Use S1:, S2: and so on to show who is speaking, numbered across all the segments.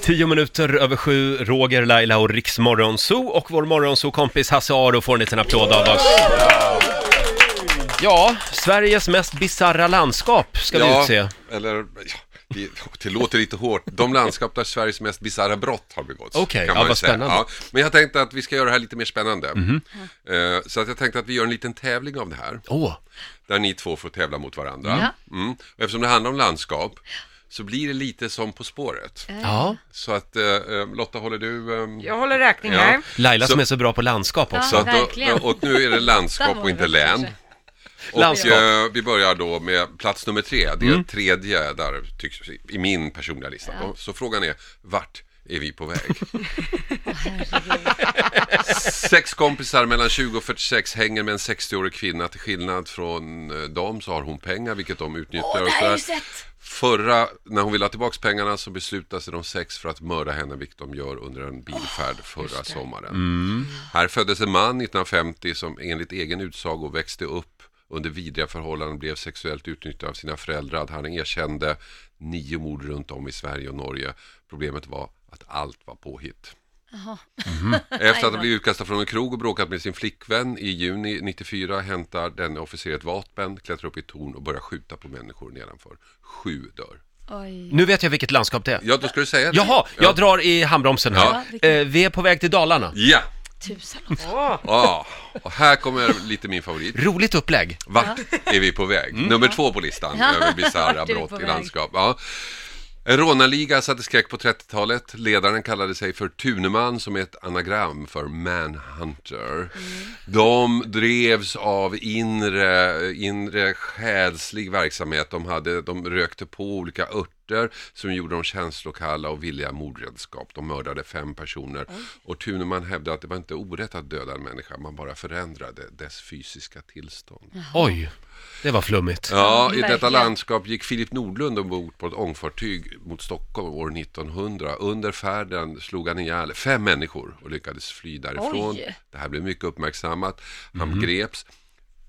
S1: Tio minuter över sju, Roger, Laila och Riksmorgonzoo och vår morgonzoo-kompis Hasse Aro får en liten applåd av oss. Ja, Sveriges mest bizarra landskap ska vi utse.
S2: eller ja, det, det låter lite hårt. De landskap där Sveriges mest bisarra brott har begåtts.
S1: Okej,
S2: kan
S1: ja,
S2: man ju
S1: vad
S2: säga.
S1: spännande. Mhm.
S2: men jag tänkte att vi ska göra det här lite mer spännande. Eh, så att jag tänkte att vi gör en liten tävling av det här.
S1: Åh,
S2: Där ni två får tävla mot varandra. Mm. Och eftersom det handlar om landskap så blir det lite som På spåret.
S1: ja.
S2: Så att eh, eh, Lotta, håller du... ehm,
S3: Jag håller räkning här.
S1: Laila
S2: Så-
S1: som är så bra på landskap också.
S2: Så att
S4: verkligen.
S2: då, och nu är det landskap och inte län. Och
S1: Landskap.
S2: eh, vi börjar då med plats nummer tre. Det är tredje där, tycks, i min personliga lista. Och Så frågan är, vart är vi på väg? Sex kompisar mellan 20 och 46 hänger med en 60-årig kvinna. Till skillnad från eh, dem så har hon pengar, vilket de utnyttjar. och
S4: det har jag ju
S2: sådär.
S4: sett.
S2: Förra, när hon ville ha tillbaka pengarna så beslutade sig de sex för att mörda henne, vilket de gör under en bilfärd förra sommaren. Här föddes en man 1950 som enligt egen utsago växte upp under vidriga förhållanden och blev sexuellt utnyttjad av sina föräldrar. Han erkände nio mord runt om i Sverige och Norge. Problemet var att allt var påhitt. Efter att ha blivit utkastad från en krog och bråkat med sin flickvän i juni 94 hämtar den officer ett vapen, klättrar upp i ett torn och börjar skjuta på människor nedanför. Sju dör.
S4: Oj.
S1: Nu vet jag vilket landskap det är.
S2: Ja, då ska du säga det.
S1: Jaha, jag drar i handbromsen här.
S2: Ja,
S1: Eh, vi är på väg till Dalarna.
S2: Ja,
S4: Tusen
S2: ja. Och här kommer lite min favorit.
S1: Roligt upplägg.
S2: Vart är vi på väg? Nummer två på listan
S4: Mm. Ja.
S2: över bisarra
S4: Vart är vi på
S2: brott i
S4: väg?
S2: landskap. Ja. En rånarliga satte skräck på 30-talet. Ledaren kallade sig för Tuneman som är ett anagram för Manhunter.
S4: Mm.
S2: De drevs av inre, inre själslig verksamhet. De, hade, de rökte på olika örter som gjorde dem känslokalla och villiga mordredskap. De mördade fem personer. Och Tuneman hävdade att det var inte orätt att döda en människa, man bara förändrade dess fysiska tillstånd.
S1: Oj, det var flummigt.
S2: Ja, i
S4: verkligen.
S2: detta landskap gick Filip Nordlund ombord på ett ångfartyg mot Stockholm år 1900. Under färden slog han ihjäl fem människor och lyckades fly därifrån.
S4: Oj.
S2: Det här blev mycket uppmärksammat. Han greps.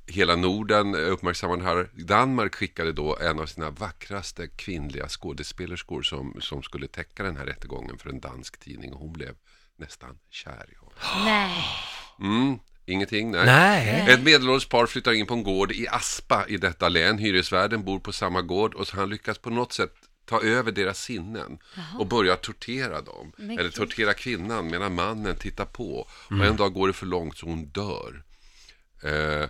S2: Hela Norden uppmärksammade det här. Danmark skickade då en av sina vackraste kvinnliga skådespelerskor som, som skulle täcka den här rättegången för en dansk tidning och hon blev nästan kär i honom.
S4: Nej.
S2: Mm, ingenting?
S1: Nej.
S4: Mm.
S2: Ett medelålders par flyttar in på en gård i Aspa i detta län. Hyresvärden bor på samma gård och så han lyckas på något sätt ta över deras sinnen och börjar tortera dem.
S4: Men
S2: eller
S4: gud.
S2: tortera kvinnan medan mannen tittar på. Och
S1: Mm.
S2: en dag går det för långt så hon dör. Eh,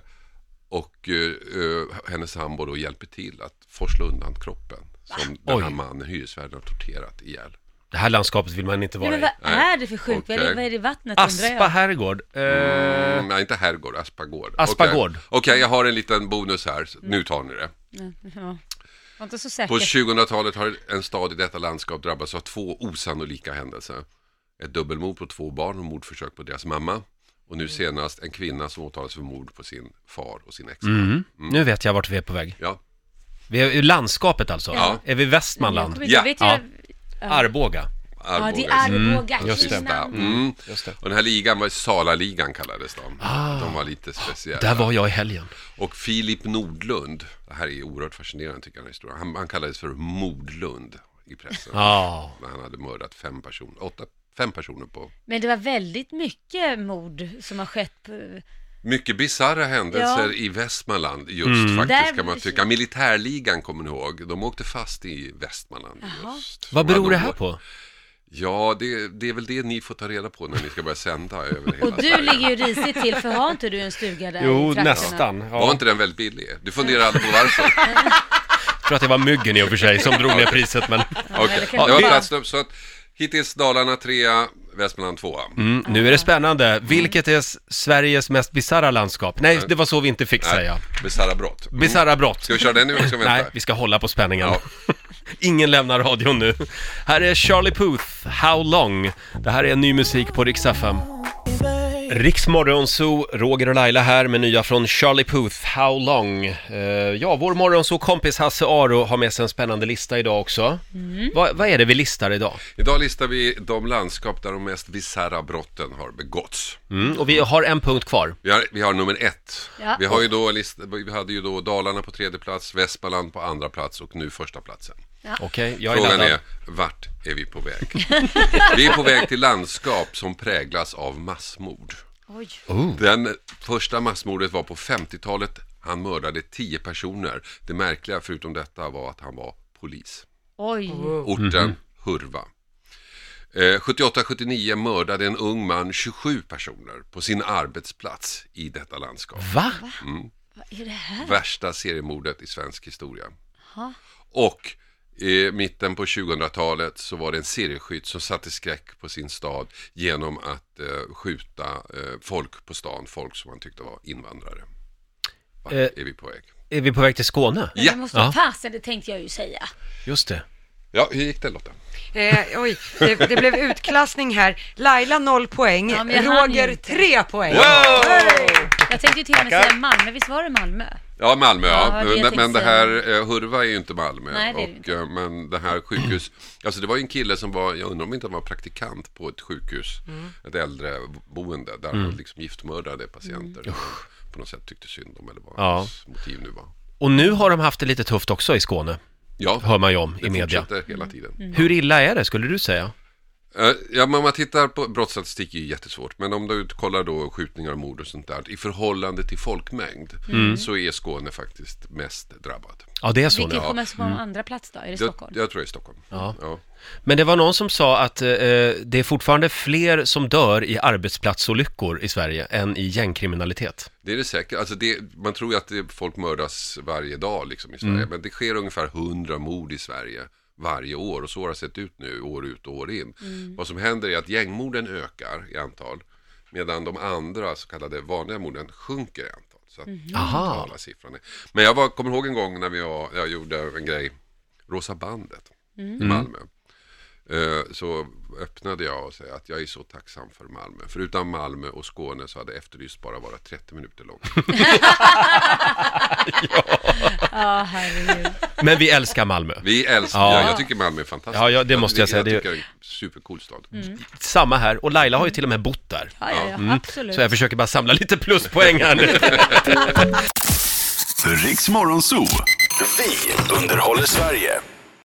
S2: och eh, eh, hennes sambo då hjälper till att forsla undan kroppen som den här
S1: Oj.
S2: mannen, hyresvärden, har torterat ihjäl.
S1: Det här landskapet vill man inte
S4: Nej,
S1: vara
S4: men
S1: i.
S4: vad är det för sjukt? Vad är
S2: Okej.
S4: det- Vad är det i vattnet undrar
S1: Aspa
S4: jag?
S1: herrgård. Eh,
S2: Mm, nej, inte herrgård, Aspagård.
S1: Aspagård.
S2: Okej, Okej, jag har en liten bonus här. Nu tar ni det.
S4: Ja. Var inte så
S2: På
S4: säker.
S2: 2000-talet har en stad i detta landskap drabbats av två osannolika händelser. Ett dubbelmord på två barn och mordförsök på deras mamma. Och
S1: Mm.
S2: nu senast en kvinna som åtalas för mord på sin far och sin exman.
S1: mm. Nu vet jag vart vi är på väg.
S2: Ja.
S1: Vi är i landskapet alltså.
S2: Ja.
S1: Är vi i
S4: Jag
S1: Västmanland?
S4: kommer inte-
S2: Ja.
S4: vet
S1: Ja.
S4: jag-
S1: Arboga.
S4: Ja, det är
S2: Arboga.
S4: Arboga.
S1: Mm, just det.
S4: kvinnan.
S2: Mm.
S1: Just det. Ah.
S2: Och den här ligan var Sala-ligan kallades de. De var lite speciella.
S1: Där var jag i helgen.
S2: Och Filip Nordlund, det här är oerhört fascinerande tycker jag den här historien. Han, han kallades för Mordlund i pressen.
S1: Ja.
S2: När han hade mördat fem personer, åtta, fem personer på
S4: Men det var väldigt mycket mord som har skett. På...
S2: Mycket bisarra händelser
S4: Ja.
S2: i Västmanland just
S1: Mm.
S2: faktiskt
S4: Där-
S2: kan man tycka. Militärligan kommer ni ihåg, de åkte fast i Västmanland just.
S1: Vad
S2: För
S1: beror det
S2: några
S1: här
S2: år.
S1: på?
S2: Ja, det, det är väl det ni får ta reda på när ni ska börja sända över hela
S4: Och du
S2: Sverige.
S4: ligger ju risigt till för har inte du en stuga där i trakterna?
S2: Var inte den väldigt billig? Du funderar aldrig på varför?
S1: Jag tror att det var myggen i och för sig som drog ner priset men...
S2: Okej,
S4: det
S2: det
S4: kan
S2: var
S4: vi-
S2: plats upp. Så att hittills Dalarna trea, Västmanland tvåa.
S1: Mm, nu är det spännande. Vilket är s- Sveriges mest bisarra landskap? Nej, det var så vi inte fick
S2: Nej,
S1: säga.
S2: Äh, Bisarra brott. Mm.
S1: Bisarra brott.
S2: Ska vi köra den nu eller ska vi vänta?
S1: Nej, vi ska hålla på spänningen.
S2: Ja.
S1: Ingen lämnar radion nu. Här är Charlie Puth, How Long. Det här är ny musik på Rix FM. Rix Morgonzoo, Roger och Laila här med nya från Charlie Puth, How Long. Eh, ja, vår Morgonzoo-kompis Hasse Aro har med sig en spännande lista idag också. Vad- vad är det vi listar idag?
S2: Idag listar vi de landskap där de mest bisarra brotten har begåtts.
S1: Mm, och vi har en punkt kvar.
S2: Vi har, vi har nummer ett.
S4: Ja.
S2: Vi, har ju då list, vi hade ju då Dalarna på tredje plats, Västmanland på andra plats och nu första platsen.
S1: Okej, jag är
S2: Frågan
S1: laddad.
S2: är, vart är vi på väg? vi är på väg till landskap som präglas av massmord.
S4: Oj.
S2: Den första massmordet var på 50-talet. Han mördade 10 personer. Det märkliga förutom detta var att han var polis.
S4: Oj.
S2: Orten
S1: Mhm.
S2: Hurva. Eh, 78-79 mördade en ung man 27 personer på sin arbetsplats i detta landskap.
S1: Va?
S4: Vad är det här?
S2: Värsta seriemordet i svensk historia.
S4: Ha?
S2: Och i mitten på 2000-talet så var det en serieskytt som satte skräck på sin stad genom att eh, skjuta eh, folk på stan, folk som han tyckte var invandrare. Vart
S1: Eh.
S2: är vi på väg?
S1: Är vi på väg till Skåne?
S4: Men
S2: Ja.
S4: det måste
S1: Ja.
S4: fasen, det tänkte jag ju säga.
S1: Just det.
S2: Ja, hur gick det Lotta?
S3: Eh, oj, det, det blev utklassning här. Laila noll poäng,
S4: Ja, men jag hann ju
S3: Roger
S4: inte.
S3: tre poäng.
S4: Jag tänkte ju till och med
S1: Tackar.
S4: säga Malmö, visst var det Malmö?
S2: Ja, Malmö ja.
S4: Ja, det
S2: men,
S4: tänkte
S2: men det
S4: jag.
S2: här, eh, Hurva är ju inte Malmö.
S4: Nej, det är det
S2: och, eh, men det här sjukhus, alltså det var ju en kille som var, jag undrar om inte han var praktikant på ett sjukhus,
S4: Mm.
S2: ett äldreboende där
S1: Mm.
S2: han liksom giftmördade patienter.
S4: Mm.
S2: På något sätt tyckte synd om eller vad
S1: Ja.
S2: hans motiv nu var.
S1: Och nu har de haft det lite tufft också i Skåne,
S2: Ja,
S1: hör man ju om
S2: det
S1: i media.
S2: fortsätter hela
S4: Mm.
S2: tiden.
S1: Hur illa är det, skulle du säga?
S2: Eh, Ja, men om man tittar på brottsstatistik är ju jättesvårt. Men om du kollar då skjutningar och mord och sånt där. I förhållande till folkmängd
S4: Mm.
S2: så är Skåne faktiskt mest drabbad.
S1: Ja, Mm. det är så nu.
S4: Vilken kommer som på andra plats då? Är det
S2: Jag,
S4: Stockholm?
S2: jag tror det är Stockholm.
S1: Ja.
S2: Ja.
S1: Men det var någon som sa att eh, det är fortfarande fler som dör i arbetsplatsolyckor i Sverige än i gängkriminalitet.
S2: Det är det säkert. Alltså det, man tror ju att det, folk mördas varje dag liksom i Sverige. Men det sker ungefär 100 mord i Sverige varje år. Och så har det sett ut nu år ut och år in. Vad som händer är att gängmorden ökar i antal. Medan de andra så kallade vanliga morden sjunker i antal. Så att
S1: Aha.
S2: totala siffran är. Men jag var, kommer ihåg en gång när vi var, jag gjorde en grej, Rosa bandet i Malmö. Eh, Så öppnade jag och sa att jag är så tacksam för Malmö. För utan Malmö och Skåne så hade Efterlyst bara varit 30 minuter lång.
S4: Ja, herregud.
S1: Men vi älskar Malmö.
S2: Vi älskar,
S1: Ja.
S2: ja. jag tycker Malmö är fantastiskt.
S1: Ja, ja, det måste jag säga.
S2: Jag
S1: Det är- Mm.
S2: tycker det är en supercool stad.
S1: Samma här, och Laila har ju till och med bott där.
S4: Ja, ja, ja, absolut.
S1: mm. Så jag försöker bara samla lite pluspoäng här nu.
S5: Riks Morgonzoo. Vi underhåller Sverige.